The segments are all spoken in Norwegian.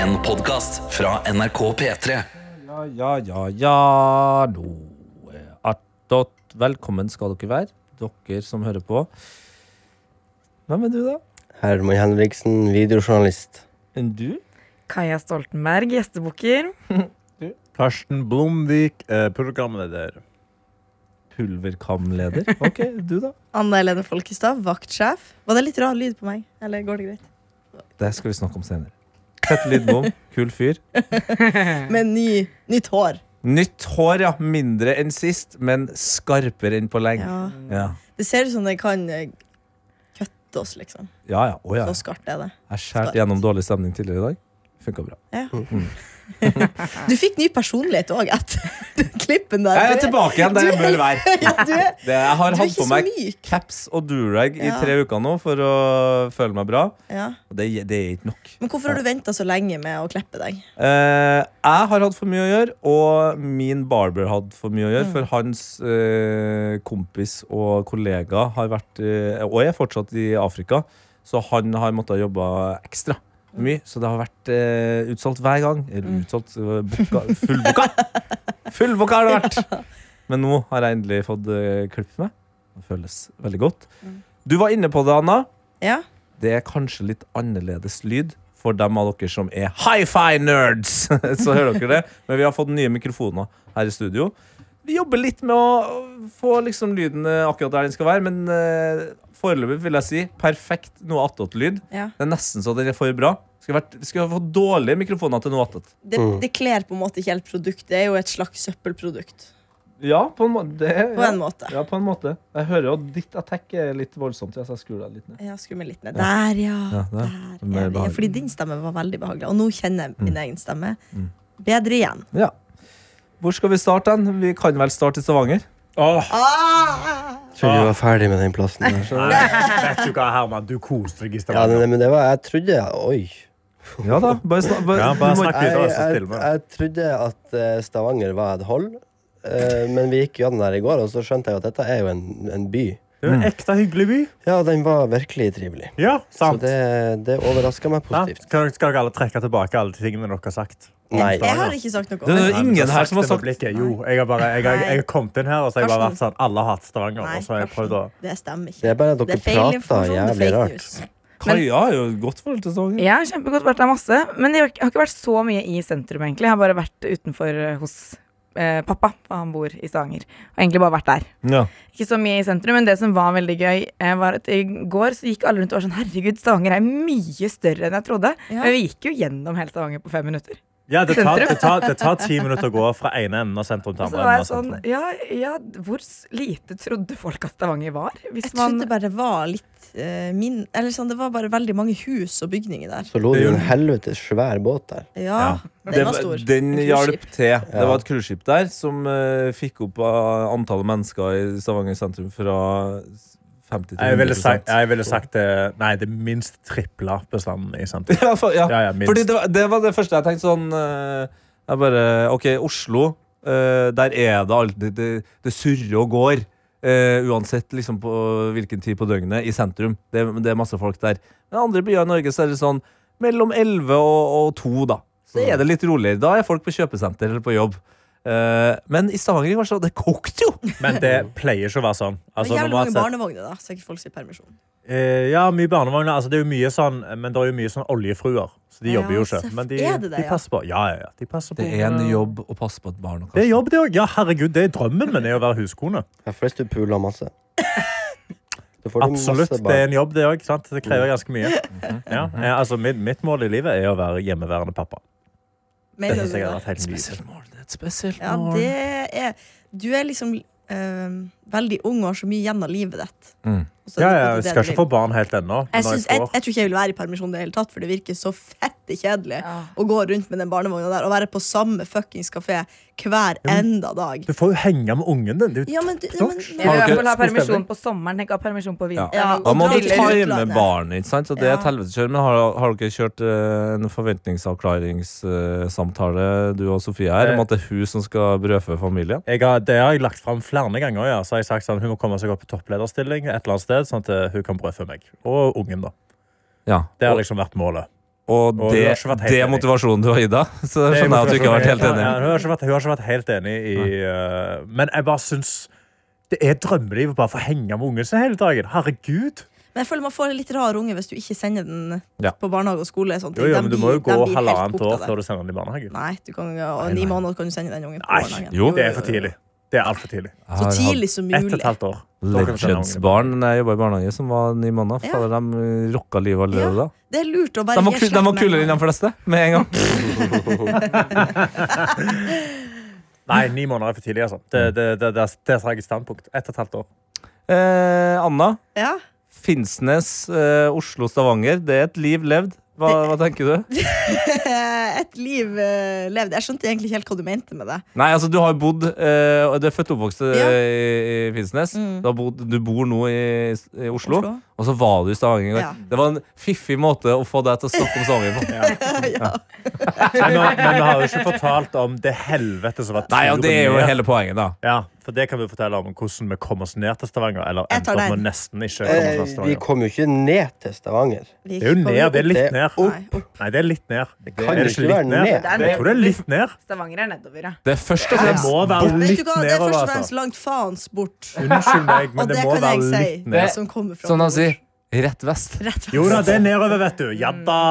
En podcast fra NRK P3 Ja, ja, ja, ja Nå er Artot. Velkommen skal dere være, dere som hører på. Hvem er du, da? Herman Henriksen, videojournalist. Enn du? Kaja Stoltenberg, gjestebukker. Karsten Blomvik, eh, programleder. Pulverkamleder. Ok, du, da? Anna Helene Folkestad, vaktsjef. Var det litt rar lyd på meg? Eller går det greit? Det skal vi snakke om senere. Tette Lidbom, kul fyr. Med ny, nytt hår. Nytt hår, ja. Mindre enn sist, men skarpere enn på lenge. Ja. Ja, Det ser ut som det kan eh, kutte oss, liksom. ja. ja. Å ja. Så skarpt er det. Jeg skjærte gjennom dårlig stemning tidligere i dag. Funka bra. Ja. Du fikk ny personlighet òg etter den klippen der. Jeg er Du er- tilbake igjen der jeg bør være. Ja, du er, Det, jeg har du er hatt ikke på så meg myk. caps og durag i Ja. tre uker nå for å føle meg bra. Ja. Og det, det er ikke nok. Men hvorfor har du venta så lenge med å klippe deg? Eh, jeg har hatt for mye å gjøre, og min barber hadde for mye å gjøre. For hans eh, kompis og kollega har vært eh, Og er fortsatt i Afrika, så han har måttet jobbe ekstra. Mye, så det har vært eh, utsolgt hver gang. Eller utsolgt eh, booka, Fullbooka! Fullbooka har det vært! Men nå har jeg endelig fått eh, klippet meg. Det føles veldig godt. Du var inne på det, Anna. Ja? Det er kanskje litt annerledes lyd for dem av dere som er hi-fi-nerds. Så hører dere det. Men vi har fått nye mikrofoner her i studio. Vi jobber litt med å få liksom lyden eh, akkurat der den skal være, men eh, foreløpig vil jeg si perfekt noe attåt-lyd. ja. Det er nesten så den er for bra. Skulle vært- skulle ha fått dårlige mikrofoner til noe attåt. Det, det kler på en måte ikke helt produkt. Det er jo et slags søppelprodukt. Ja, på en måte. På en måte. Ja, på en måte. Jeg hører jo at ditt attack er litt voldsomt. så Jeg skrur deg litt ned. Ja, skru meg litt ned. Der, ja. Ja, der. der. Mer er Mm. vi. behagelig. Fordi din stemme var veldig behagelig. Og nå kjenner jeg min egen stemme bedre igjen. Ja. Hvor skal vi starte den? Vi kan vel starte i Stavanger? Åh, Trodde Ah. vi var ferdig med den plassen der. nei, vet du hva, Herman, du koser deg i Ja, Stavanger. nei, men det var Jeg trodde Oi. Ja da. Bare snak, bare, Ja, bare du må- snakk. Jeg, det var så jeg, stille med det. jeg trodde at eh, Stavanger var et hold, eh, men vi gikk gjennom der i går, og så skjønte jeg jo at dette er jo en, en by. Det er jo en ekte hyggelig by. Ja, den var virkelig trivelig. Mm. Ja, Så sant. det, det overraska meg Ja, positivt. skal, skal dere alle trekke tilbake alle de tingene dere har sagt? Nei. Jeg har ikke sagt noe. Det er om jo det. Nei, men ingen du her som har det med sagt blikket. Jo, jeg har bare jeg, jeg, jeg har kommet inn her og så har jeg bare vært sånn Alle hater Stavanger. Nei, Og så har jeg prøvd å Karsten, det stemmer ikke. Det er bare at dere prater jævlig rart. news. Kaja har jo et godt forhold til Stavanger. Ja, kjempegodt vært der masse. Men jeg har ikke- jeg har ikke vært så mye i sentrum, egentlig. Jeg har bare vært utenfor eh, hos eh, pappa, for han bor i Stavanger. Og egentlig bare vært der. Ja. Ikke så mye i sentrum, men det som var veldig gøy, eh, var at i går så gikk alle rundt og var sånn Herregud, Stavanger er mye større enn jeg trodde. Ja. Men vi gikk jo gjennom hele Stavanger på fem minutter. Ja, det tar, det, tar, det tar ti minutter å gå fra ene enden av sentrum til Og så andre var enden. jeg av sentrum. sånn Ja, ja hvor s- lite trodde folk at Stavanger var? Hvis Jeg man trodde bare det var litt eh, min Eller sånn, det var bare veldig mange hus og bygninger der. Så lå det jo en helvetes svær båt der. Ja, Det den var var- stor. Den En hjalp cruiseskip. til. Det var et cruiseskip der som eh, fikk opp eh, antallet mennesker i Stavanger sentrum fra 50 til Jeg 100 ville sagt, jeg ville sagt det, Nei, det minst tripla bestanden i sentrum. ja, for, ja. Ja, ja, minst. Fordi det var, det var det første jeg tenkte sånn eh, Jeg bare OK, Oslo. eh, der er det alltid Det, det surrer og går. eh, uansett liksom på hvilken tid på døgnet. I sentrum. Det, det er masse folk der. Men andre byer i Norge så er det sånn mellom 11 og, og 2, da. Så er det litt roligere. Da er folk på kjøpesenter eller på jobb. Eh, men i Stavanger i går så Det kokte jo! Men det pleier ikke å være sånn. Det Altså, var jævlig normalt mange sett- barnevogner, da, så ikke folk sier permisjon. Eh, ja, mye barnevogner. Altså, det er jo mye sånn, men det er jo mye sånn oljefruer. Så de Ja, jobber jo ikke. seff- Men de, er det det, de ja? passer på. Ja, ja, ja. De passer Det på. er en eh, jobb å passe på et barn. og Det er jobb, det òg. Ja, herregud, det er drømmen min, er å være huskone. Ja, for hvis du puler masse. Da får du Absolutt. masse Det er barn. Mm. en jobb, det òg. Det krever ganske mye. Mhm. Ja, eh, altså, mitt, mitt mål i livet er å være hjemmeværende pappa. Det Mener synes du jeg hadde det? vært helt nydelig. Spesielt mål. Det er et spesielt Ja, mål. det er Du er liksom eh, veldig ung og har så mye igjen av livet ditt. Mm. Og så er Ja, ja, det på en jeg måte det skal du ikke vil. få barn helt ennå. men jeg, når syns, jeg, får- jeg tror ikke jeg vil være i permisjon, det hele tatt for det virker så fette kjedelig å gå rundt med den barnevogna der og være på samme fuckings kafé hver enda dag. Du får jo henge med ungen din. Det er jo Ja, men du- ja, men- toppnotch. Jeg vil i Har dere- hvert fall ha Stor stemning. permisjon på sommeren, tenk å ha permisjon på vinteren. Ja. og Da må dra du til litt ut- time utlandet. barnet, ikke sant? Så det er et Ja. helveteskjør. Men har, har dere kjørt eh, en forventningsavklaringssamtale, du og Sofie her, om Eh. at det er hun som skal brødfø familien? Jeg har, det har jeg lagt fram flere ganger. Ja. Så har jeg sagt sånn, Hun må komme seg opp i topplederstilling et eller annet sted, sånn at eh, hun kan brødfø meg. Og ungen, da. Ja. Det har Og, liksom vært målet. Og, Og du det, har ikke vært helt det er enig. motivasjonen du har gitt deg. Så skjønner jeg at du ikke har vært helt enig. Ja, hun, har ikke vært, hun har ikke vært helt enig i eh, Men jeg bare syns det er drømmelivet bare for å henge med ungen sin hele dagen. Herregud! Men jeg føler man får en litt rar unge hvis du ikke sender den Ja. på barnehage og skole. og Sånne Jo, ting. jo, De men du blir- må jo de gå blir helt halvannet hooked av år det. før du sender den i barnehagen. Nei, du kan, og ni måneder kan du sende den ungen på Nei, barnehagen. jo, det er for tidlig. Det er altfor tidlig. Jeg Så har tidlig som Ett og mulig. et halvt år. Da kan du sende ungen i barnehagen. Legends-barn da jeg jobba i barnehage, som var ni måneder. Ja. Fader, de eh, rocka livet allerede da. Det er lurt å bare De var, gi ku- de slett var med kulere enn de en gang. fleste med en gang. Nei, ni måneder er for tidlig, altså. Det, Mm. det, det, det, det er et standpunkt. Ett og et halvt år. Eh, Anna. Ja. Finnsnes, eh, Oslo, Stavanger. Det er et liv levd. Hva, hva tenker du? Et liv eh, levd. Jeg skjønte egentlig ikke helt hva du mente med det. Nei, altså Du har jo bodd eh, og Du er født og oppvokst eh, Ja. Mm. i, i Finnsnes. Du, har bodd, du bor nå i, i Oslo, Oslo. og så var du i Stavanger. i går. Ja. Det var en fiffig måte å få deg til å snakke om Stavanger på. Men, nå- men vi har jo ikke fortalt om det helvete som var Nei, og Det er jo ned. hele poenget, da. Ja, for det kan vi fortelle om hvordan vi kom oss ned til Stavanger. Eller Jeg endte tar opp med den. nesten ikke komme oss Eh, ned til vi Stavanger. kom jo ikke ned til Stavanger. Vi Det er jo kom ned. Det er Det litt er ned. Nei, opp. Nei, det er litt ned. Det kan jo ikke være ned. Det er Jeg tror det er litt ned. Stavanger er nedover, ja. Det er først og Det fremst må være Vet du litt hva, det er nedover, først og fremst altså. langt faens bort. Unnskyld meg, Og men det det må kan være jeg litt si. ned. Som kommer fra Som de nord. sier, rett vest. Rett fra Jo da, det er nedover, vet du. Ja da.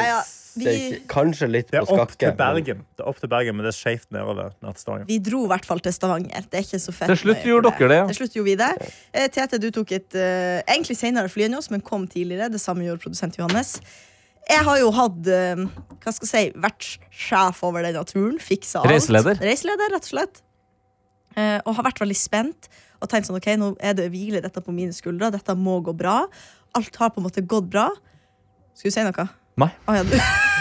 Ja, ja. Det Vi, er ikke, kanskje litt Det på er opp skakke. til Bergen, Det er opp til Bergen, men det er skeivt nedover. ned til Stavanger. vi dro i hvert fall til Stavanger. Det er ikke så fett Til slutt nøye gjorde for dere det, ja. Til slutt gjorde vi det. Eh, Tete, du tok et eh, egentlig senere fly enn oss, men kom tidligere. Det samme gjorde produsent Johannes. Jeg har jo hatt eh, hva skal jeg si, vært sjef over denne turen. Fiksa alt. Reiseleder. Reiseleder, rett og slett. Eh, og har vært veldig spent og tenkt sånn, ok, nå er det hviler dette på mine skuldre. Dette må gå bra. Alt har på en måte gått bra. Skulle du si noe? Nei. Å, ja, du.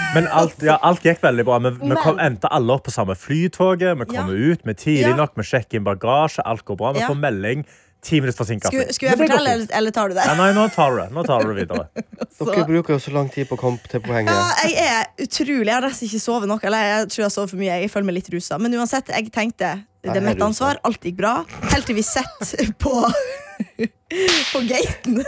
Men alt, ja, alt gikk veldig bra. Vi, vi Men- kom, endte alle opp på samme flytoget. Vi Ja. kommer ut vi er tidlig Ja. nok, vi sjekker inn bagasje. Alt går bra. Vi Ja. får melding ti minutter forsinkelse. Skulle, skulle jeg Men det går fortelle, fint. eller, eller tar du det? Ja, Nei, nå tar du det. Nå tar du det videre. Dere bruker jo så lang tid på å komme til Ja, poenget. jeg er utrolig. Jeg har nesten ikke sovet nok. Eller jeg tror jeg sover for mye. Jeg føler meg litt rusa. Men uansett, jeg tenkte det Jeg er er mitt rusa. ansvar. Alt gikk bra. Helt til vi sitter på På gaten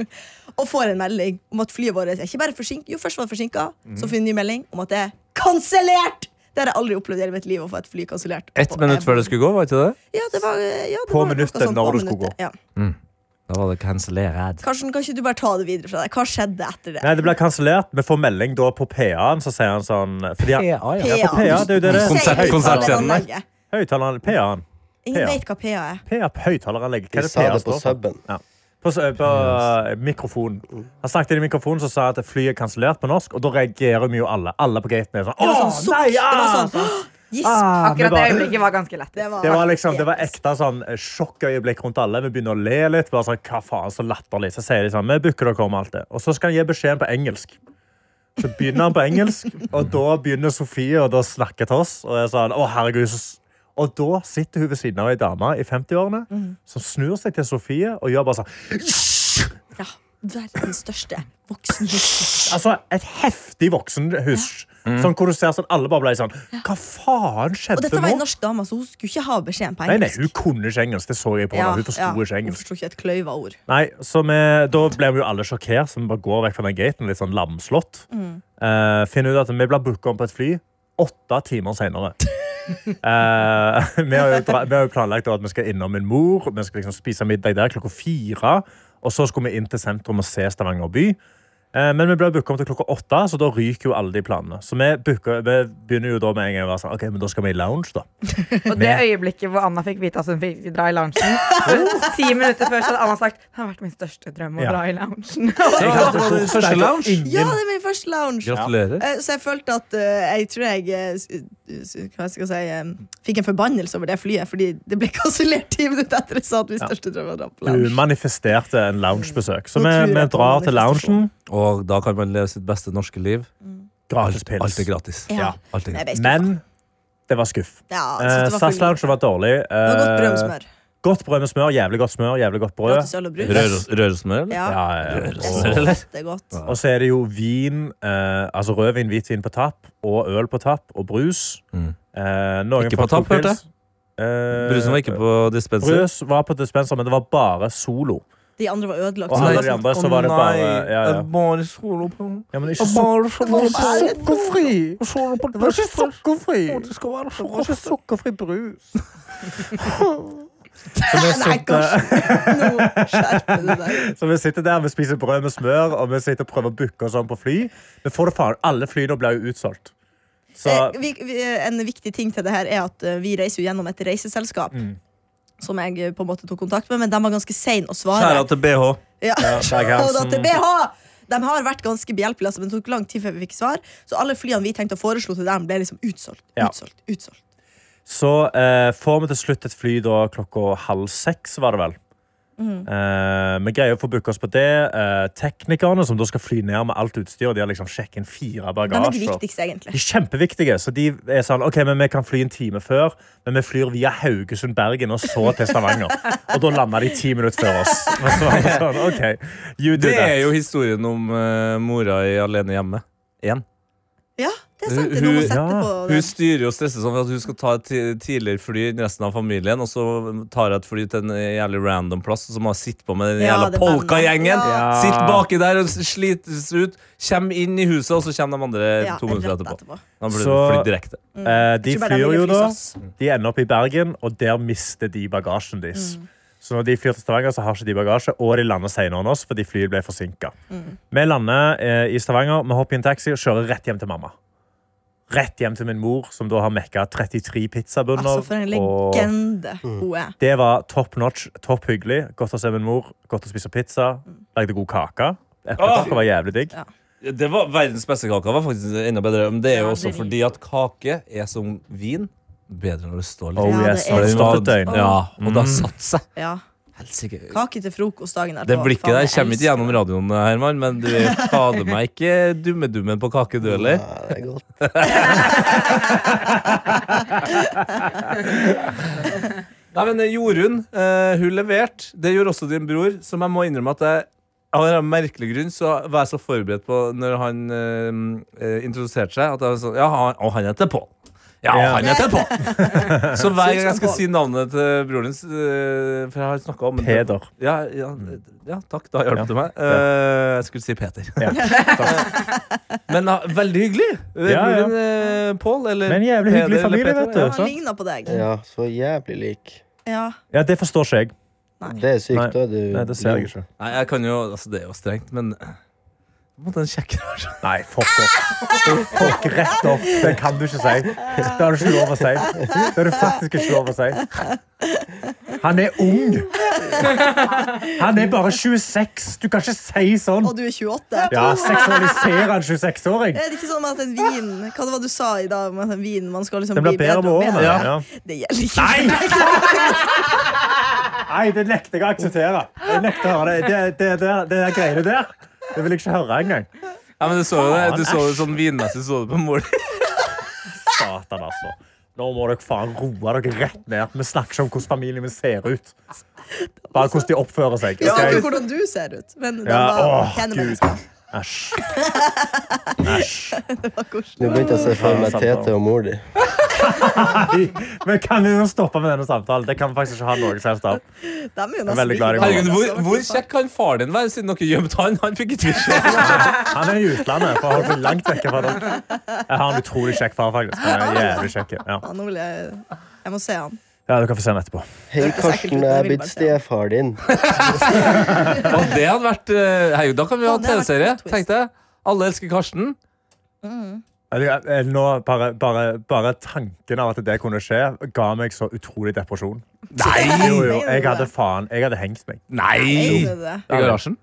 og får en melding om at flyet vårt er ikke bare forsinket. Jo, først var det forsinka, så får vi en ny melding om at det er kansellert! Det har jeg aldri opplevd i hele mitt liv. Å få et fly kansellert. Ett Og- minutt før det skulle gå, var ikke det? Ja, det var, ja, det På var noe minuttet sånt, når på du skulle minuttet, Ja. Da var det cancellert. Karsten, kan ikke du bare ta det videre fra deg? Hva skjedde etter det? Nei, det ble kansellert. Vi får melding da på PA-en, så sier han sånn fordi han, Ja, ja. Ja, på PA, det er jo det det er. Du sier Konsert- konsertscenen der. høyttaleranlegget. Høyttaleren PA-en. Ingen PA. vet hva PA er. PA høyttaleranlegg. Hva Vi er det sa PA det på står for? suben. Ja. På, s- på eh, mikrofon. Han snakket inn i mikrofonen så sa at flyet er kansellert på norsk, og da reagerer vi jo alle. Alle på gaten er sånn Å, Det var sånn sukk. nei! Ja! Det var sånn «Åh, Gisp. Ah, vi Akkurat det bare- øyeblikket var ganske lett. Det var, Det var liksom, det var ekte sånn sjokkøyeblikk rundt alle. Vi begynner å le litt. bare sånn, hva faen, så latterlig. Så sier de sånn, vi booker dere om alt det. Og så skal han gi beskjeden på engelsk. Så begynner han på engelsk, og da begynner Sofie og da snakker til oss. Og jeg sa, å herregud, så... s-" Og da sitter hun ved siden av ei dame i 50-årene Mhm. som snur seg til Sofie og gjør bare sånn Ja, verdens største voksenhus. Altså, et heftig voksenhusj. Sånn hvor du ser sånn, alle bare ble sånn Hva faen Og skjedde dette var nå? en norsk dame, så hun skulle ikke ha beskjeden Nei, på nei, engelsk. hun kunne ikke engelsk. Det så jeg på henne. Hun forsto ikke ja, hun engelsk. forsto ikke et kløyva ord. Nei, så vi, Da ble vi jo alle sjokkert, så vi bare går vekk fra den gaten. Litt sånn lamslått. Eh, finner ut at vi blir booka om på et fly åtte timer seinere. vi, har jo dra- vi har jo planlagt da at vi skal innom min mor, vi skal liksom spise middag der klokka fire. Og så skulle vi inn til sentrum og se Stavanger by. Eh, Men vi ble booka om til klokka åtte, så da ryker jo alle de planene. Så vi, booker, vi begynner jo da med en gang å være sånn OK, men da skal vi i lounge, da. Og det øyeblikket hvor Anna fikk vite at hun fikk dra i loungen Ti minutter før så hadde Anna sagt det har vært min største drøm å Ja. dra i loungen. Ja, det var det første lounge. Ja, det er min første lounge! Gratulerer. Eh, Så jeg følte at eh, jeg tror jeg eh, s- s- hva skal jeg si, eh, fikk en forbannelse over det flyet, fordi det ble kansellert ti minutter etter jeg sa at min største drøm var å dra på Du lounge. manifesterte en loungebesøk. Så Nå vi, tror jeg vi på drar til manifestasjon. loungen. Og da kan man leve sitt beste norske liv. Gratis pils. Alt er gratis. Ja. Alt er Jeg gratis. ble skuffa. Men det var skuff. ja, jeg synes Eh, det var SAS for Lounge var dårlig. Eh, Det var godt brød med smør. godt brød med smør, Jævlig godt smør, jævlig godt brød. Gratis øl og brus. Røros- Rørosmør, eller? Ja, Ja, ja, ja. det Røros- Og- er så fett, det er godt. Og så er det jo vin, eh, altså rødvin, hvitvin på tapp, og øl på tapp, og brus. Mm. Eh, noen Ikke folk på tapp, tok pils. hørte Eh, Brusen var ikke på dispenser. Brus var på dispenser, men det var bare solo. De andre var ødelagt. Og så her er det de var sånn, andre, så var det bare Ja, ja. bare solo på ja men ikke så Sukkerfri! Det var ikke sukkerfri! Det skal være Det var ikke sukkerfri brus. Nei, Karsten, nå skjerper du deg. Så vi sitter der, vi spiser brød med smør, og vi sitter og prøver å booke og sånn på fly. Men får det faen, alle flyene blir jo utsolgt. Så Eh, vi, vi, en viktig ting til det her er at eh, vi reiser jo gjennom et reiseselskap. Mm. Som jeg eh, på en måte tok kontakt med, men de var ganske seine å svare. Kjære til BH. Ja. Berghaus. Og da til BH! De har vært ganske behjelpelige, altså, men det tok lang tid før vi fikk svar. Så alle flyene vi tenkte å foreslå til dem, ble liksom utsolgt. Ja. utsolgt, utsolgt. så eh, får vi til slutt et fly da klokka halv seks, var det vel. Eh, vi greier å få booka oss på det. Eh, teknikerne som da skal fly ned med alt utstyret, de har liksom sjekket inn fire De er de bagasjer. viktigste, egentlig. De er kjempeviktige, så de er sånn Ok, men vi kan fly en time før, men vi flyr via Haugesund, Bergen og så til Stavanger. Og da lander de ti minutter før oss. Og så er det sånn, ok, you do Det er that. jo historien om eh, mora i Alene hjemme. Én. Ja, det er sant. Det er noe å Hun- sette ja. på Hun den. styrer og stresser sånn for at hun skal ta et ti- tidligere fly enn resten av familien, og så tar hun et fly til en jævlig random plass, og så må hun sitte på med den Ja, jævla det bandet. polkagjengen. Ja. Sitt baki der og s- slites ut. Kjem inn i huset, og så kommer de andre Ja, to minutter rett etterpå. etterpå. Da blir det Så- fly direkte. Eh, de Jeg tror bare de sånn. flyr ville jo da. fryse oss. De ender opp i Bergen, og der mister de bagasjen deres. Mm. Så når de flyr til Stavanger, så har ikke de bagasje, og de lander senere enn oss fordi flyet ble forsinka. Mm. Vi lander eh, i Stavanger, vi hopper i en taxi og kjører rett hjem til mamma. Rett hjem til min mor, som da har mekka 33 pizzabunner. Altså, for en og- legende hun er. Det var top notch, topp hyggelig. Godt å se min mor, godt å spise pizza. Lagde god kake. Eplekake var jævlig digg. Ja. Det var Verdens beste kake var faktisk enda bedre, men det er jo også fordi at kake er som vin. Bedre når det står litt Oh Ja, det yes, er har det sant. stått et døgn. Ja, og det har satt seg. Ja. Helsike. Kake til frokost dagen etterpå. Det blikket Faen, der jeg kommer ikke elsker gjennom det. radioen, Herman, men du er fader meg ikke dummedummen på kake, du heller. Ja, det er godt. Nei, men eh, Jorunn, eh, hun leverte. Det gjorde også din bror, som jeg må innrømme at jeg av en eller annen merkelig grunn så var jeg så forberedt på når han eh, eh, introduserte seg, at jeg var sånn Ja, han, og han heter Pål. Ja, Ja. han heter Pål! så hver gang jeg skal Pål. si navnet til broren din, eh, for jeg har snakka om Peder. Mm. Ja, ja, ja, takk. Da hjalp Ja. du meg. Eh, jeg skulle si Peter. Eh, Ja. men ja, veldig hyggelig! Eh, Ja, ja. Broren eh, Pål, eller Men jævlig hyggelig Peder eller familie, Peter, vet du. ja. Han ligner på deg. Ja, så jævlig lik. Ja. Ja, det forstår ikke jeg. Nei. Det er sykt, Nei, da. Du, Nei, det ser jeg ikke. Nei, jeg kan jo, altså Det er jo strengt, men måtte en kjekke versjon. Nei, fuck off. Du fuck rett off. Det kan du ikke si. Det har du ikke lov å si. Det har du faktisk ikke lov å si. Han er ung. Han er bare 26. Du kan ikke si sånn. Og du er 28. Ja, seksualiserer en 26-åring. Er det ikke sånn at en vin Hva det var du sa i dag om at en vin man skal liksom Den bli blir bedre med og årene. Ja. Det gjelder ikke. Nei! Nei, det nekter jeg å akseptere. Jeg nekter å høre det. Det, det, det, det der greiene der. Det vil jeg ikke høre engang. Ja, men Du så jo det Faen, du så det sånn vinmessig så det på mor di. Satan, altså. Nå må dere faen roe dere rett ned. Vi snakker ikke om hvordan familien min ser ut. Bare hvordan de oppfører seg. Vi snakker om ok? hvordan du ser ut, men den Ja, var åh, pene Gud. mennesker. Æsj. Æsj. Det var koselig. Nå begynte jeg å se for meg Ja, sant, Tete og mor di. Nei, Men kan vi jo stoppe med denne samtalen? Det kan vi faktisk ikke ha noe som helst av. De er jo er nesten veldig glad i like meg. Herregud, gamle, hvor, altså. hvor kjekk kan far din være, siden dere gjemte han? Han fikk ikke vite det. Han er i utlandet, for han holdt seg langt vekk fra dere. Jeg har en utrolig kjekk far, faktisk. Han er jævlig kjekk. Ja, Ja, nå vil jeg Jeg må se han. ja du kan få se han etterpå. Hei, Karsten, jeg er blitt stefar din. Og det hadde vært eh, Herregud, da kan vi ha Faen, det hadde vært TV-serie. plot twist. Tenk deg. Alle elsker Karsten. Vet du hva, eh, Nå bare, bare, bare tanken av at det kunne skje, ga meg så utrolig depresjon. Nei! Jo, jo, jeg hadde faen, jeg hadde hengt meg. Nei! Jeg I gjorde det. garasjen?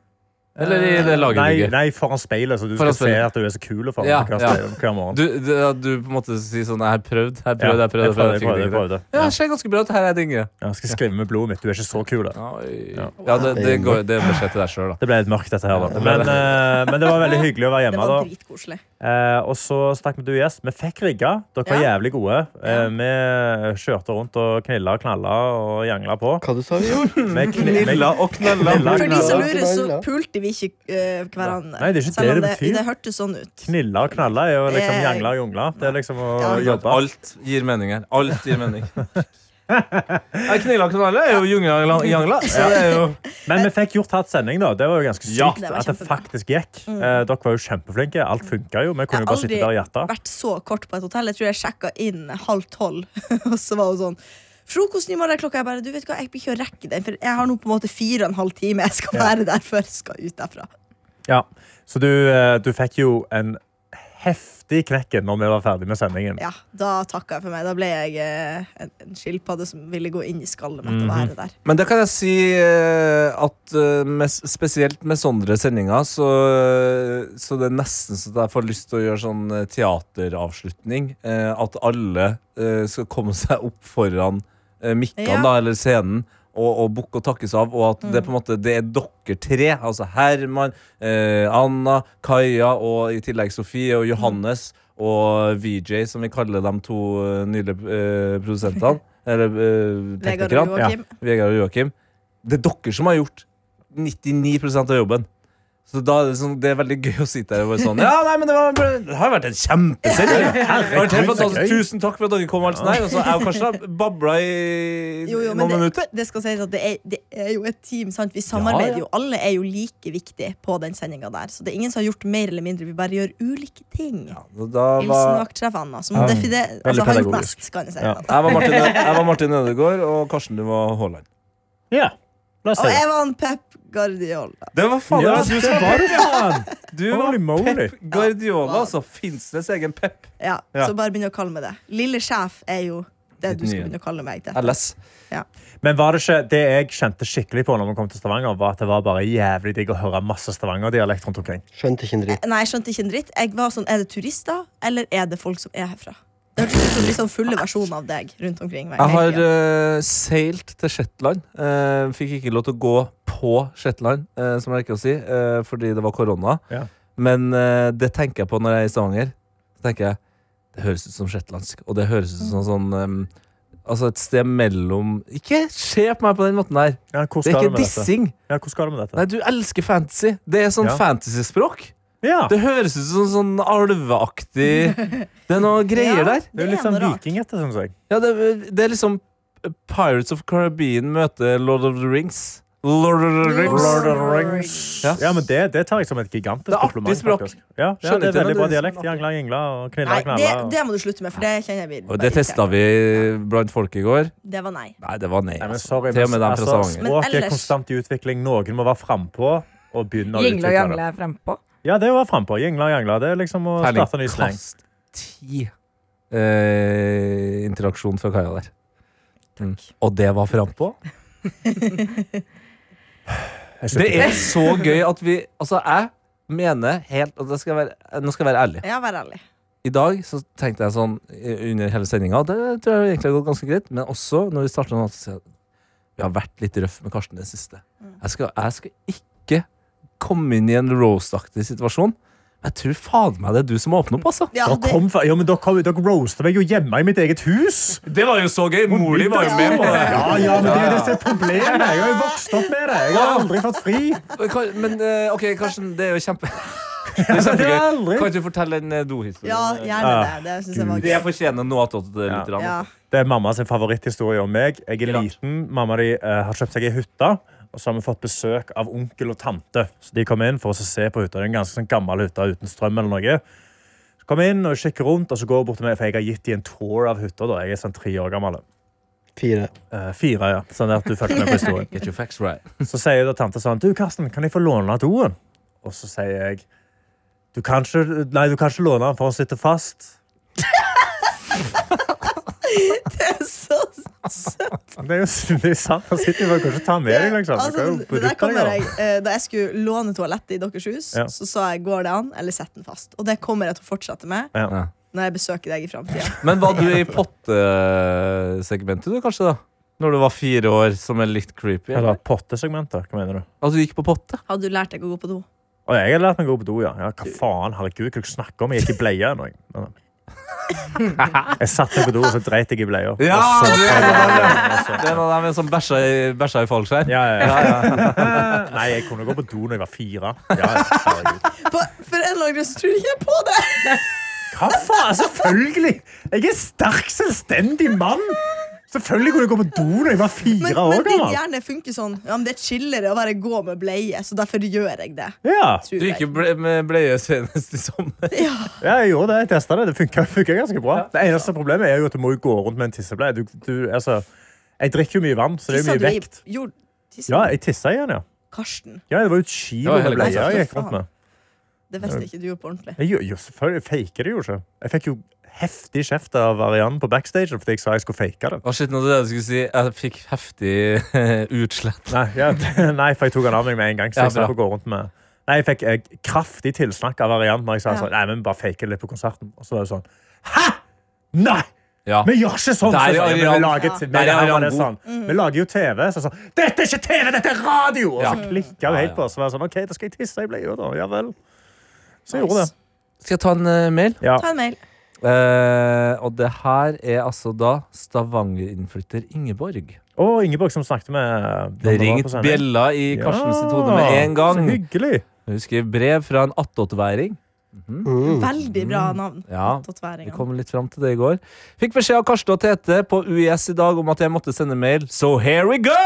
Eller i det Eh, Nei, lagerbygget? nei, foran speilet, så du Foran skal se speilet. at du er så kul foran Ja, hver, ja. speil- hver morgen. Du, du, du på en måte si sånn Jeg har prøvd, jeg har Ja, prøvd, jeg har prøvd. jeg Jeg prøvde, prøvde, jeg prøvde, jeg prøvde. Ja, det ser ganske bra ut. Her er det ingen. Ja, Jeg skal skrive med blodet mitt. Du er ikke så kul. Da. Ja, ja det, det, går, det er beskjed til deg sjøl, da. Det ble litt mørkt, dette her. Da. Men, eh, men det var veldig hyggelig å være Det hjemme. var da. dritkoselig. Eh, og så snakket vi med du gjest. Vi fikk rigga. Dere var jævlig gode. Eh, vi kjørte rundt og knilla og knalla og jangla på. Hva du sa du gjorde? Vi kni- vi- og knella. knilla, For de knalla. som lurer, så pulte vi ikke eh, hverandre. Nei, det er ikke Selv det om det betyr. Det hørtes sånn ut. Knilla og knalla er jo liksom Eh, jangla og jongla. Det er liksom å Ja. jobbe. Alt gir mening her. Alt gir mening. Ja, Knilla Knalla er jo jungla jangla. Så det er jo Men vi fikk gjort hatt sending, da. Det var jo ganske sykt Ja. Det var at det kjempebra. Mm. faktisk gikk. Eh, dere var jo kjempeflinke. Alt funka jo. Vi Jeg kunne jo bare sitte der og gjette. vært så kort på et hotell. Jeg tror jeg sjekka inn halv tolv. Og så var hun sånn Frokosten i morgen klokka. Jeg bare, du vet hva, jeg blir ikke å rekke den, for jeg har nå på en måte fire og en halv time jeg skal være der før jeg skal ut derfra. Ja. Så du, eh, du fikk jo en heftig knekken når vi var ferdig med sendingen. Ja, Da takka jeg for meg. Da ble jeg eh, en, en skilpadde som ville gå inn i skallet Mhm. mitt og være der. Men det kan jeg si eh, at eh, med, spesielt med sånne sendinger, så, eh, så det er nesten så jeg får lyst til å gjøre sånn eh, teateravslutning. eh, At alle eh, skal komme seg opp foran eh, mikkene, Ja. da, eller scenen. Og, og bukke og takkes av, og at det på en måte Det er dere tre. Altså Herman, eh, Anna, Kaja og i tillegg Sofie og Johannes og VJ, som vi kaller de to eh, nydelige eh, produsentene. Eller eh, Vegard teknikerne. og Joakim. Vegard og Joakim. Det er dere som har gjort 99 av jobben. Så da er det, sånn, det er veldig gøy å sitte her og bare sånn Ja, nei, men det, var, det har vært en kjempesending! Det har vært helt fantastisk. altså, Tusen takk for at dere kom. altså, Og alt sånt her. Og så er jo kanskje da babla i Jo, jo, men noen det, minutter. det skal sies at det er, det er jo et team. sant? Vi samarbeider jo. Alle er jo like viktige på den sendinga der. Så det er ingen som har gjort mer eller mindre. Vi bare gjør ulike ting. Og Da Hilsen var, vaktsjef Anna, som defide- altså, han gjorde pedagogisk. mest, kan jeg si. Ja. jeg, var Martin, jeg var Martin Ødegaard, og Karsten, du var Haaland. Ja. La oss si Og det. jeg var en Pep Guardiola. Det var faen det Ja, var du som var det, faen! Du var Holy moly. Pep Guardiola, altså. Finnsnes egen Pep. Ja, Ja. Så bare begynn å kalle meg det. Lille sjef er jo det du skal begynne å kalle meg. Det. LS. Men var det ikke det jeg kjente skikkelig på når vi kom til Stavanger, var at det var bare jævlig digg å høre masse Stavanger-dialekt rundt omkring. Skjønte ikke en dritt. Nei, jeg skjønte ikke en dritt. Jeg var sånn, Er det turister, eller er det folk som er herfra? Det hørtes ut som liksom fulle versjoner av deg rundt omkring. meg Jeg hele har tiden. eh, seilt til Shetland. Eh, fikk ikke lov til å gå på Shetland, eh, som jeg liker å si, eh, fordi det var korona. Ja. Men eh, det tenker jeg på når jeg er i Stavanger. Så tenker jeg, Det høres ut som shetlandsk, og det høres ut som sånn em, Altså et sted mellom Ikke se på meg på den måten der! Ja, hvor Det skal er du ikke med dette? dissing. Ja, hvor skal du med dette? Nei, du elsker fantasy. Det er sånn Ja. fantasyspråk. Ja, Det høres ut som sånn alveaktig Det er noe eh, greier Ja. der. det er jo Det litt er sånn noe rart. vikingete, syns jeg. Ja, det, det er liksom Pirates of Caribbean møter Lord of the Rings. Lord of the Rings. Lord of the Rings. Ja. Ja, men det, det tar jeg som et gigantisk Det er artig kompliment. språk. faktisk. Ja, ja, Skjønner det er ikke veldig det, bra det er dialekt. liksom Jangla, jingla og knilla, Nei, det, knalla. det må du slutte med, for det kjenner jeg vil. Og det testa vi blant folk i går. Det var nei. Nei, det var nei. Nei, men Altså. sorry, Til og med dem men fra altså, Stavanger. Men Språket er ellers- konstant i utvikling. Noen må være frampå og begynne å Jingle og utvikle jangle det. er frempå. Ja, det var frampå. Jingla, jangla. Det er liksom å starte ny slang. Terningkast ti eh, interaksjon fra Kaja der. Mm. Og det var frampå. Jeg Det slutter. er så gøy at vi Altså, jeg mener helt at jeg skal være, Nå skal jeg være ærlig. Ja, vær ærlig. I dag så tenkte jeg sånn eh, under hele sendinga Det tror jeg egentlig har gått ganske greit. Men også når vi starta nå, så sier jeg at vi har vært litt røff med Karsten i det siste. Mm. Jeg skal, jeg skal ikke komme inn i en roast-aktig situasjon. Men jeg tror fader meg det er du som må åpne opp, altså. Ja, Dere det, kom fra- ja, men dere kom- dere roaster meg jo hjemme i mitt eget hus! Det var jo så gøy! Mor di var jo Ja, ja, men det er jo det som er problemet. Jeg har jo vokst opp med det. Jeg har aldri fått fri. Men eh, OK, Karsten, det er jo kjempe Det er Det er kjempegøy. aldri. Kan ikke du fortelle en eh, dohistorie? ja, gjerne det. Det synes jeg var Det gøy. fortjener noe attåt Ja. lytterne. Ja. Det er mammas favoritthistorie om meg. Jeg er Klart. liten. Mamma di eh, har kjøpt seg ei hytte. Og så har vi fått besøk av onkel og tante. Så de kom inn for å se på hytta. Det er en ganske sånn gammel hytte uten strøm eller noe. Så kom jeg inn og kikker rundt, og så går jeg bort til meg, for jeg har gitt dem en tour av hytta. da. Jeg er sånn tre år gammel. Fire. Eh, fire, ja. Sånn at du følger med på historien. Get your facts right. Så sier da tante sånn Du, Karsten, kan jeg få låne doen? Og så sier jeg Du kan ikke, nei, du kan ikke låne den, for den sitter fast. Så, Det er jo det er sant. Den sitter jo bare, du kan ikke ta med deg, liksom. Du altså, kan jo det der bruke den, kommer ja. jeg, eh, da jeg skulle låne toalettet i deres hus, Ja. så sa jeg går det an, eller sett den fast. Og det kommer jeg til å fortsette med Ja. når jeg besøker deg i framtida. Men var du i pottesegmentet du, kanskje, da? Når du var fire år, som er litt creepy? Eller Eller? pottesegmenter, hva mener du? At Altså, du gikk på potte? Hadde du lært deg å gå på do? Og jeg har lært meg å gå på do, ja. ja hva faen, herregud, hva er det du snakker om? Jeg gikk i bleia ennå. jeg. Nei, nei. Jeg satt meg på do, og så dreit jeg i bleia. Og Ja, så- det er Det er en av dem som bæsja i, bæsja i fallskjerm? ja, ja, ja. Nei, jeg kunne gå på do når jeg var fire. Ja, ja, herregud. På, for en eller annen grunn så tror jeg ikke på det! Hva faen? Selvfølgelig! Jeg er en sterk, selvstendig mann Selvfølgelig kunne jeg gå på do når jeg var Men, fire år men din gammel. hjerne funker sånn. Ja, men Det er chillere å bare gå med bleie, så derfor gjør jeg det. Ja, Tror Du jeg. gikk jo ble, med bleie senest i sommer. Ja. ja, jeg gjorde det. Jeg testa det. Det funka ganske bra. Det eneste problemet er jo at du må jo gå rundt med en tissebleie. Du, du, altså, jeg drikker jo mye vann, så det er jo Tissa mye du i- vekt. gjorde- tissa Ja, du i jeg tissa igjen, ja. Karsten. Ja, Det var jo et Ja, kilo med hele bleie gangen. jeg gikk rundt med. Det visste ikke du gjorde på ordentlig. Jeg, gjør- jo, selvfølgelig jeg faker det jo ikke. Jeg fikk jo heftig kjeft av Arianne på backstage fordi jeg sa jeg skulle fake det. Å, shit, nå trodde jeg du skulle si jeg fikk heftig utslett. Nei, ja, nei, for jeg tok han av meg med en gang. Så Ja, jeg slapp bra. å gå rundt med Nei, jeg fikk eh, kraftig tilsnakk av Arianne når jeg sa Ja. sånn, nei, men bare fake det litt på konserten. Og så var det sånn Hæ?! Nei! Ja. Vi gjør ikke sånn! Der er så sa jeg, men Arianne- vi, lager, Der er Mhm. vi, her var det Arianne sånn. vi lager jo TV. Så sånn, dette er ikke TV, dette er radio! Og Ja. så klikka Ja, hun helt på. Så var jeg sånn, OK, da skal jeg tisse i bleia, da. Ja vel. Så jeg gjorde det. Skal jeg ta en eh, mail? Ja. Ta en mail. Eh, og det her er altså da Stavanger-innflytter Ingeborg. Og Ingeborg som snakket med eh, Det ringte bjella i Karsten sitt hode med en Så gang. hyggelig. Hun skrev brev fra en attåtværing. Mm, Veldig bra navn. Mm. Ja, Tatoveringer. Vi kom litt fram til det i går. Fikk beskjed av Karsten og Tete på UiS i dag om at jeg måtte sende mail, so here we go!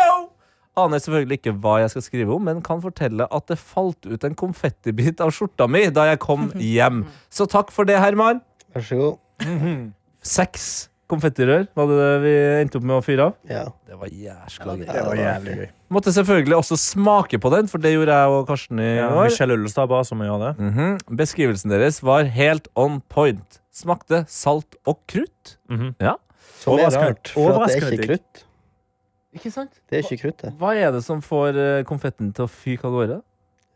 Aner selvfølgelig ikke hva jeg skal skrive om, men kan fortelle at det falt ut en konfettibit av skjorta mi da jeg kom hjem. Så takk for det, Herman. Vær så god. Seks konfettirør var det det vi endte opp med å fyre av. Ja. Det var jæskla gøy. Det var jævlig gøy. Måtte selvfølgelig også smake på den, for det gjorde jeg og Karsten i Ja, går. Michelle Ullestad ba oss om å gjøre det. Mhm. Beskrivelsen deres var helt on point. Smakte salt og krutt. Mhm. Ja. Som er Overraskende- rart, for at det er overraskende ikke digg. krutt. Ikke sant? Det er ikke krutt, det. Hva er det som får eh, konfetten til å fyke av gårde?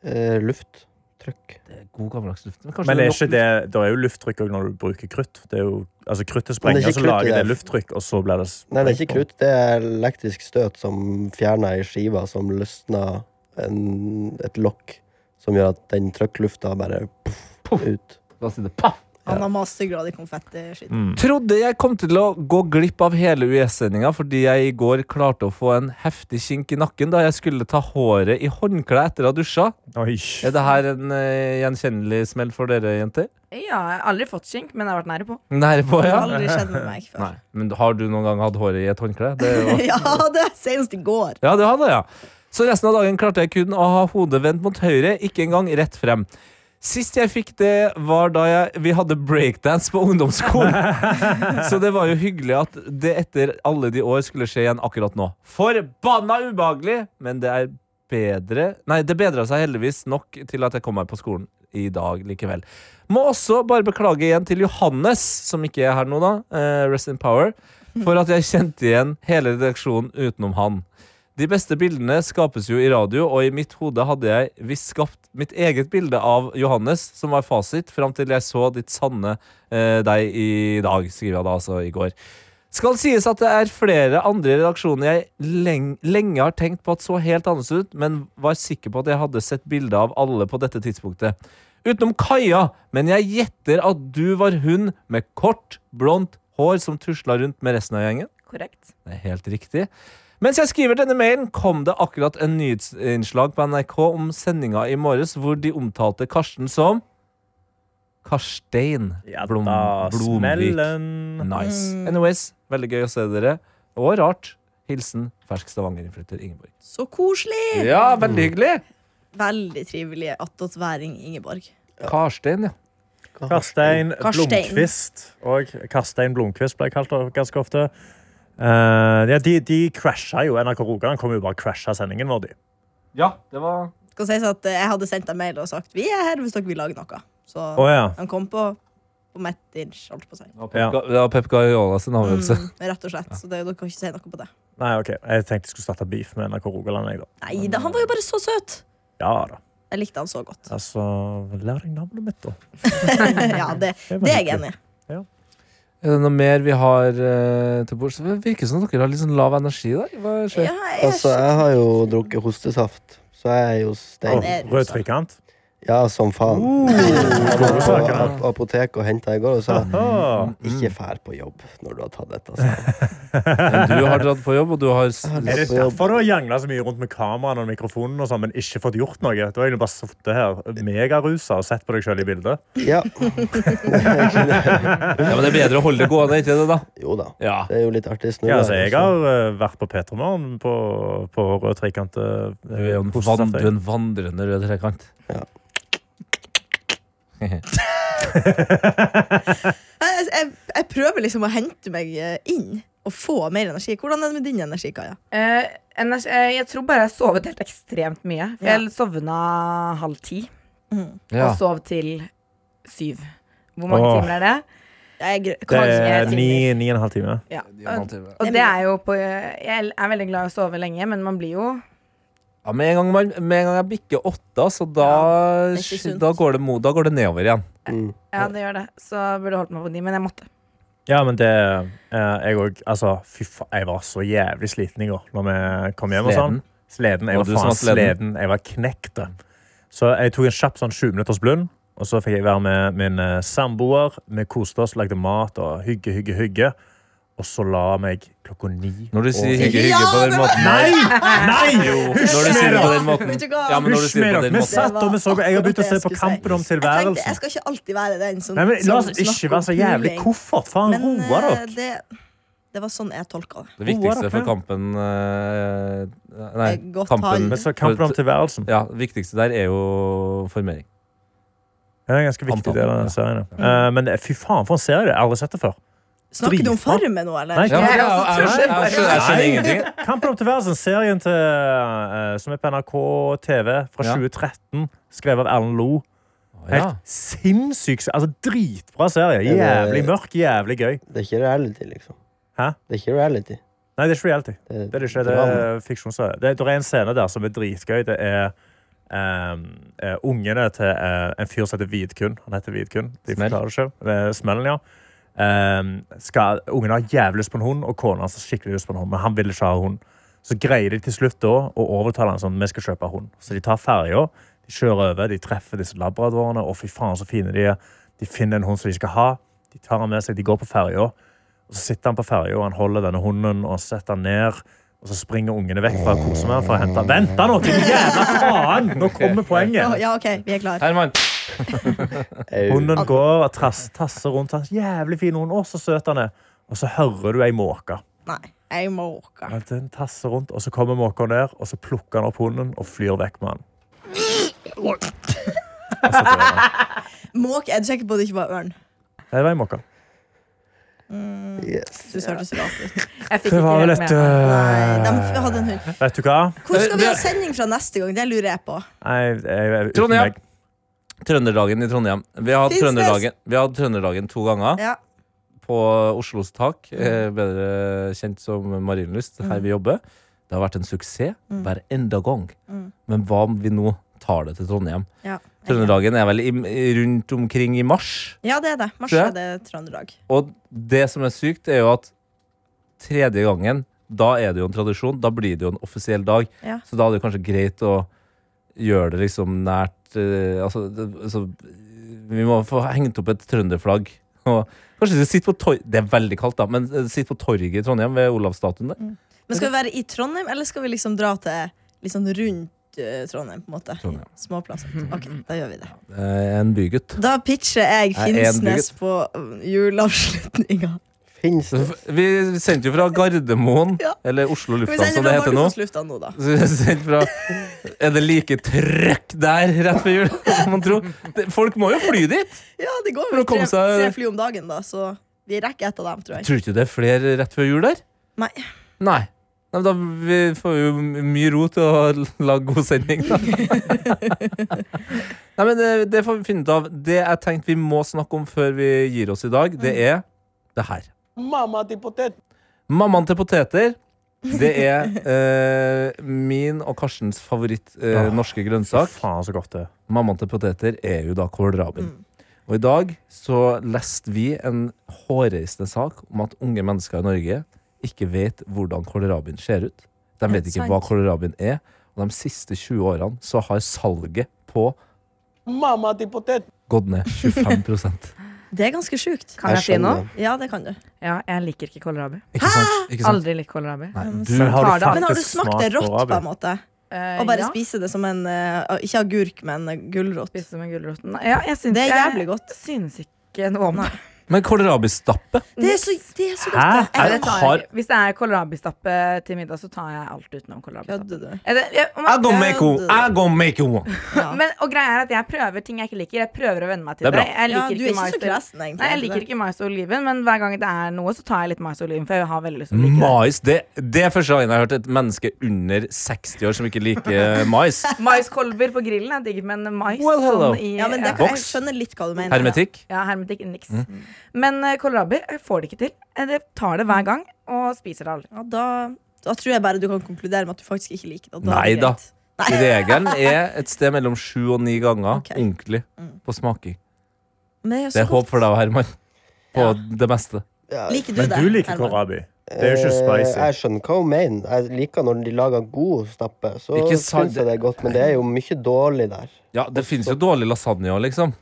Eh, luft. Trøkk. Det er god gammeldags luft. Men, kanskje Men det er er ikke nok luft. det, det er jo lufttrykk også når du bruker krutt. Det er jo, altså Kruttet Men det er ikke sprenger, så krutt i lager det det. lufttrykk, og så blir det Nei, det er sprengt ikke på. krutt. Det er elektrisk støt som fjerner ei skive som løsner en, et lokk, som gjør at den trøkklufta bare puff, ut. Da sier det paff! Han har mastergrad i konfetti. Mm. Trodde jeg kom til å gå glipp av hele US-sendinga fordi jeg i går klarte å få en heftig kink i nakken da jeg skulle ta håret i håndkle etter å ha dusja. Oi. Er det her en eh, gjenkjennelig smell for dere, jenter? Ja, jeg har aldri fått skink, men jeg har vært nære på. Nære på, Det har ja. aldri skjedd med meg før. Nei. Men har du noen gang hatt håret i et håndkle? Det er jo Ja, det er senest i går. Ja, det hadde jeg. Så resten av dagen klarte jeg kun å ha hodet vendt mot høyre, ikke engang rett frem. Sist jeg fikk det, var da jeg, vi hadde breakdance på ungdomsskolen. Så det var jo hyggelig at det etter alle de år skulle skje igjen akkurat nå. Forbanna ubehagelig, men det er bedre Nei, det bedra seg heldigvis nok til at jeg kom meg på skolen i dag likevel. Må også bare beklage igjen til Johannes, som ikke er her nå, da. eh, rest in power. For at jeg kjente igjen hele redaksjonen utenom han. De beste bildene skapes jo i radio, og i mitt hode hadde jeg visst skapt mitt eget bilde av Johannes, som var fasit, fram til jeg så ditt sanne eh, deg i dag, skriver jeg da altså i går. Skal sies at det er flere andre i redaksjonen jeg leng lenge har tenkt på at så helt annerledes ut, men var sikker på at jeg hadde sett bilde av alle på dette tidspunktet. Utenom Kaja, men jeg gjetter at du var hun med kort, blondt hår som tusla rundt med resten av gjengen. Korrekt. Det er helt riktig. Mens jeg skriver denne mailen, kom det akkurat en nyhetsinnslag på NRK om sendinga i morges hvor de omtalte Karsten som Karstein Ja, Blom, da, Blomvik. smellen. Nice. Anyways, veldig gøy å se dere. Og rart. Hilsen fersk Stavanger-innflytter Ingeborg. Så koselig! Ja, veldig hyggelig. Veldig trivelige attåtværing Ingeborg. Mm. Karstein, ja. Karstein Karstein. Blomkvist. Og Karstein Blomkvist ble jeg kalt det ganske ofte. Eh, ja, de, de crasha jo. NRK Rogaland kom jo bare og crasha sendingen vår. De. Ja, det var Skal sies at eh, Jeg hadde sendt dem mail og sagt vi er her hvis dere vil lage noe. Så Å, ja. de kom på, på mitt inch, holdt på å si. det var Pep, Ja. Ga- det var Pep Guardiola sin avgjørelse. Mm, rett og slett. Så det, dere kan ikke si noe på det. Nei, ok. Jeg tenkte jeg skulle starte beef med NRK Rogaland. Jeg, da. Nei da, han var jo bare så søt! Ja da. Jeg likte han så godt. Altså, lær deg navnet mitt, da. ja, det, det er jeg enig i. Er det noe mer vi har eh, til bords? Det virker som dere har litt sånn lav energi i dag. Hva skjer? Ja, jeg er eh, Altså, jeg har jo drukket hostesaft, så jeg er jo Oh, stein. er rusa. rød trekant. Ja, som faen. Uh. Jeg var på ap apoteket og henta i går og sa Ah. ikke fær på jobb når du har tatt dette. sa Men du har dratt på jobb, og du har s- han. Er det Så jobb- derfor du har jangla så mye rundt med kameraene og mikrofonen, og sånn, men ikke fått gjort noe? Du har egentlig bare sittet her megarusa og sett på deg sjøl i bildet. Ja. Ja, men det er bedre å holde det gående, ikke det, da? Jo da. Ja. Det er jo litt artig liksom. snue. Ja, altså, jeg her, har eh, vært på Petermorgen på, på rød trekant. eh, Du er jo en, hos van, du er Safari. en vandrende rød trekant. Jeg, jeg, jeg prøver liksom å hente meg eh, inn og få mer energi. Hvordan er det med din energi, Kaja? Eh, energi, eh, jeg tror bare jeg har sovet helt ekstremt mye. For Ja. Jeg sovna halv ti og sov til syv. Hvor mange Åh. timer er det? Jeg, er gr- Det Kanskje er jeg- ni, ni og en halv time. Ja. Og, Ja, og det er jo på eh, Jeg er veldig glad i å sove lenge, men man blir jo med, en gang man, med en gang jeg bikker åtta, så da, det er ikke sunt. da, går det, mo- da går det nedover igjen. Mm. Ja, det gjør det. Så jeg burde holdt meg på ni, men jeg måtte. Ja, men det eh, Jeg òg Altså, fy faen, jeg var så jævlig sliten i går når vi kom hjem. og sånn. Sleden. Jeg Var var du som faen var sleden? sleden. Jeg var knekt. da. Så jeg tok en kjapp sånn 20 minutters blund, og så fikk jeg være med min eh, samboer. Vi koste oss, lagde mat og hygge, hygge, hygge. Og så la meg klokka ni. Når du sier og- hygge, Ja, hygge på den det var- måten Nei! Jo, Nei! når du sier det på den måten. Vet du hva? Ja, men når du Hysj sier det på med dere. den Vi måten. satt og vi så Jeg har begynt å se på Det var akkurat det jeg Kampen om skulle si. Jeg tenkte, Jeg tilværelsen. skal ikke alltid være den som Nei, men La oss som snakker ikke være så om jævlig puling. koffert. Faen, Men roa eh, dere. det, det var sånn jeg tolka det. Det viktigste for Roa dere. kampen eh, Nei, Eh, godt kampen tall. Men så Kampen om tilværelsen. Ja, det viktigste der er jo formering. Det er en ganske viktig Antall, del av ja. den serien. ja. Eh, Men eh, fy faen, for en serie. Jeg har aldri sett det før. Snakker du om Dritbra. Farmen nå, eller? Nei, Ja, jeg jeg, jeg, også jeg, trodde jeg, skjønner- jeg skjønner ingenting. Kampen om tilværelsen, serien til, eh, som er på NRK TV fra Ja. 2013, skrevet av Erlend Lo. Helt Ja. sinnssyk se- altså Dritbra serie. det- Jævlig mørk, jævlig gøy. Det er ikke reality, liksom. Hæ? Det er ikke reality. Nei, det er ikke reality. Det Det er det ikke. Det drama. er fiksjonsserie. Det, det er en scene der som er dritgøy. Det er ehm, eh, ungene til eh, en fyr som heter Vidkun. Han heter Vidkun. De Smell. forklarer det selv. Det er Smellen, ja. Ehm, skal, ungene har jævlig lyst på en hund, og kona hans har skikkelig lyst på en hund. Men han vil ikke ha hund. Så greier de til slutt da å overtale han sånn vi skal kjøpe hund. Så de tar ferja, de kjører over, de treffer disse labradorene. Å, fy faen, så fine de er. De finner en hund som de skal ha. De tar han med seg, de går på ferja. Og så sitter han på ferja og han holder denne hunden og setter han ned. Og så springer ungene vekk fra kosen med han for å hente han. Vent da nå, til jævla faen! Nå kommer Å, poenget. Ja, OK, vi er klare. Herman, Au. Hunden går og trass, tasser rundt hans. Jævlig fin hund. Å, så søt han er. Og så hører du ei måke. Nei, jeg må orke. At Den tasser rundt, og så kommer måka ned, og så plukker han opp hunden og flyr vekk med han. Og så dør han. Måke, er du sikker på at det ikke var ørn? Nei, Det var ei måke. Yes. Du hørtes rart Jeg ut. fikk Det ikke var vel helt et med meg. Nei, de Eh. hadde en hund. Vet du hva? Hvor skal Eh, vi ha sending fra neste gang? Det lurer jeg på. Nei, jeg, jeg, uten Trondheim. meg. Trønderdagen i Trondheim. Vi har hatt Finnsnes. Trønderdagen, vi har hatt Trønderdagen to ganger. Ja. På Oslos tak, eh, bedre kjent som Marienlyst, her vi jobber. Det har vært en suksess hver enda gang. Mm. Men hva om vi nå tar det til Trondheim? Ja, Trønderdagen er vel i, rundt omkring i mars. ja det er det. Mars Tror jeg. er det Trøndelag. Og det som er sykt, er jo at tredje gangen, da er det jo en tradisjon. Da blir det jo en offisiell dag. Ja. Så da er det jo kanskje greit å gjøre det liksom nært eh, altså, det, altså, Vi må få hengt opp et trønderflagg. Og kanskje du sitter på tor Det er veldig kaldt, da, men eh, sitt på torget i Trondheim ved Olavsstatuen. der. Mm. Men skal vi være i Trondheim, eller skal vi liksom dra til litt sånn rundt eh, Trondheim, på en måte? Trondheim. Småplasser. Ok, da gjør vi det. Eh, En bygutt. Da pitcher jeg Jeg er en Finnsnes på eh, juleavslutninga. Finnes Så det? f- Vi sendte jo fra Gardermoen, Ja. eller Oslo Vi lufthavn, sender som det fra heter nå. Bardufoss-lufta nå, da. Så vi sendte fra Er det like trøkk der rett før jul? Man tror. Det- Folk må jo fly dit! Ja, det går For å vel tre, komme seg- tre fly om dagen, da, så vi rekker et av dem, tror jeg. Tror du ikke det er flere rett før jul der? Nei. Nei. Nei, men da vi får jo m- mye ro til å l- lage god sending, da. Nei, men det, det får vi finne ut av. Det jeg tenkte vi må snakke om før vi gir oss i dag, det er det her. Mamma til potet. Mammaen til poteter. Det er eh, min og Karstens favoritt eh, Åh, norske Fy grønnsak. faen, så godt det er. Mammaen til poteter er jo da kålrabien. Og i dag så leste vi en hårreisende sak om at unge mennesker i Norge ikke vet hvordan kålrabien ser ut. De vet ikke hva kålrabien er. Og de siste 20 årene så har salget på Gått ned 25 Det er ganske sjukt. Kan jeg si skjønner noe? det. Ja, det kan du. Ja, jeg liker ikke kålrabi. Ikke sant? Ikke sant? Aldri likt kålrabi. Nei, du, Men har tar du det av. Um, Men har du faktisk smakt det rått, kålrabi? på en måte? Eh, Og bare ja. spise det som en eh, Ikke agurk, men eh, gulrot. Spise med gulroten. Ja, jeg syns, Det er jeg jævlig godt. Synes ikke noe om det. men kålrabistappe? Det er så, det er så godt. Hæ? da. Nei, Jeg det tar har- jeg. ikke. Hvis det er kålrabistappe til middag, så tar jeg alt utenom kålrabistappe. kødder du. Er det- jeg- om I jeg- gonna make one. Oh, I gonna make one. Ja. Men, og greia er at jeg prøver ting jeg ikke liker. Jeg prøver å venne meg til Det det. er bra. Jeg Ja, liker du er ikke ikke så mais. gressen, egentlig. Nei, jeg liker ikke mais og oliven, men hver gang det er noe, så tar jeg litt mais og oliven. For jeg har veldig lyst til å like det. Mais. Det, det er første gangen jeg har hørt et menneske under 60 år som ikke liker mais. Maiskolber på grillen er digg, men mais Well, hello. sånn i Ja, men det ja. kan, jeg Boks. skjønner litt hva du mener. Hermetikk. Ja, hermetikk niks. Men eh, kålrabi jeg får det ikke til. Eh, Jeg tar det hver gang og spiser det aldri. Ja, da, da tror jeg bare du kan konkludere med at du faktisk ikke liker det. og Nei er det da. greit. Nei. Regelen er et sted mellom sju og ni ganger Ok. ordentlig på smaking. Men det er, jo så Det er håp godt. for deg, Herman. På det meste. Ja, Liker du Men det? du liker Herman? kålrabi. Det er jo ikke Eh, spicy. Jeg skjønner hva hun mener. Jeg liker når de lager god stappe. Så Ikke sant, syns jeg det er godt, men det er jo mye dårlig der. Ja, det finnes jo dårlig lasagne òg, liksom.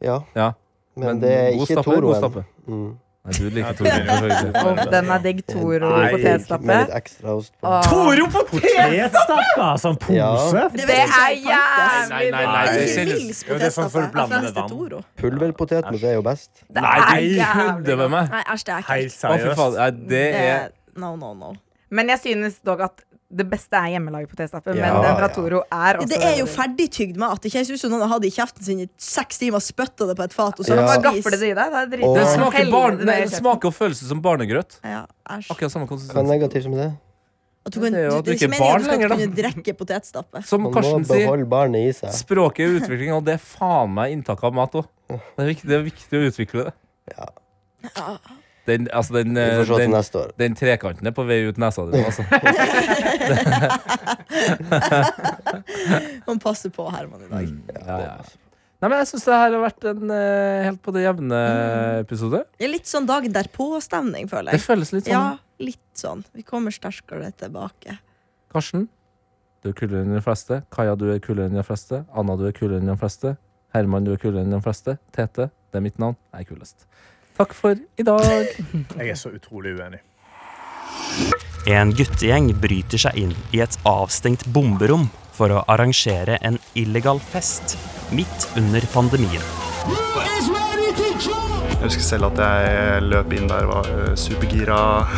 Ja, Ja. men, det er god ikke stappe er god stappe. Toroen. Mm. Nei, du liker Ja, det Toroen. er jo selvfølgelig. ikke det. Den er digg. Toro Nei. Med potetstappe. litt ekstra ost Ah. på. Åh. Potetstappa? Sånn pose? Ja. Det Det visste ikke er jeg fantes. Nei, jævlig nei, bra. nei, Det er det ikke kjennes- Mils Jo, det er sånn for å potetstappe. blande Jeg synes det er vann. Toro. Pulverpotetmos er jo best. Det Nei, er det Jeg jævlig kødder med godt. meg. Nei, æsj, det er Helt ekkelt. Å, fy faen. seriøst. Nei, det er Det er- Eh, No, no, no. Men jeg synes dog at det beste er hjemmelaget Ja, potetstappe. men den ja. fra Toro er også Det er jo ferdigtygd mat. Ikke? Jeg synes jo noen har hatt det i kjeften sin i seks timer, spytta det på et fat, og så Ja. har Bare de gaffer det spist. i deg. Det er Og- Det dritgodt. smaker, barn, nei, Helvete, det er det kjeft. smaker og føles som barnegrøt. Ja, æsj. Akkurat samme Hva er konsistens. negativt som det? At du kan, Det er jo du, at du det er ikke er ikke meningen at barn du skal lenger, da. kunne drikke potetstappe. Som Man må Karsten sier, beholde barnet i seg. språket er utvikling, og det er faen meg inntak av mat òg. Det, er viktig- det er viktig å utvikle det. Den, altså den, Vi eh, får se til den, neste år. den trekanten er på vei ut nesa di. Altså. Man passer på Herman i dag. Ja, ja. Nei, men jeg syns det her har vært en eh, helt på det jevne episode. Det er litt sånn dagen derpå-stemning, føler Det jeg. føles litt sånn. Ja, litt sånn. Vi kommer sterkere tilbake. Karsten, du er kulere enn de fleste. Kaja, du er kulere enn de fleste. Anna, du er kulere enn de fleste. Herman, du er kulere enn de fleste. Tete, det er mitt navn. Jeg er kulest. Takk for i dag. Jeg er så utrolig uenig. En guttegjeng bryter seg inn i et avstengt bomberom for å arrangere en illegal fest midt under pandemien. Jeg husker selv at jeg løp inn der og var eh, supergira.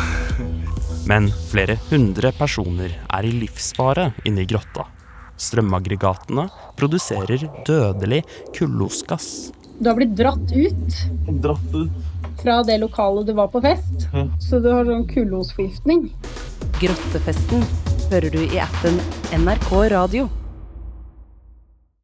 Men flere hundre personer er i livsfare inne i grotta. Strømaggregatene produserer dødelig kullosgass. Du har blitt dratt ut Dratt ut. fra det lokalet du var på fest, så du har sånn kullosforgiftning. Grottefesten hører du i appen NRK Radio.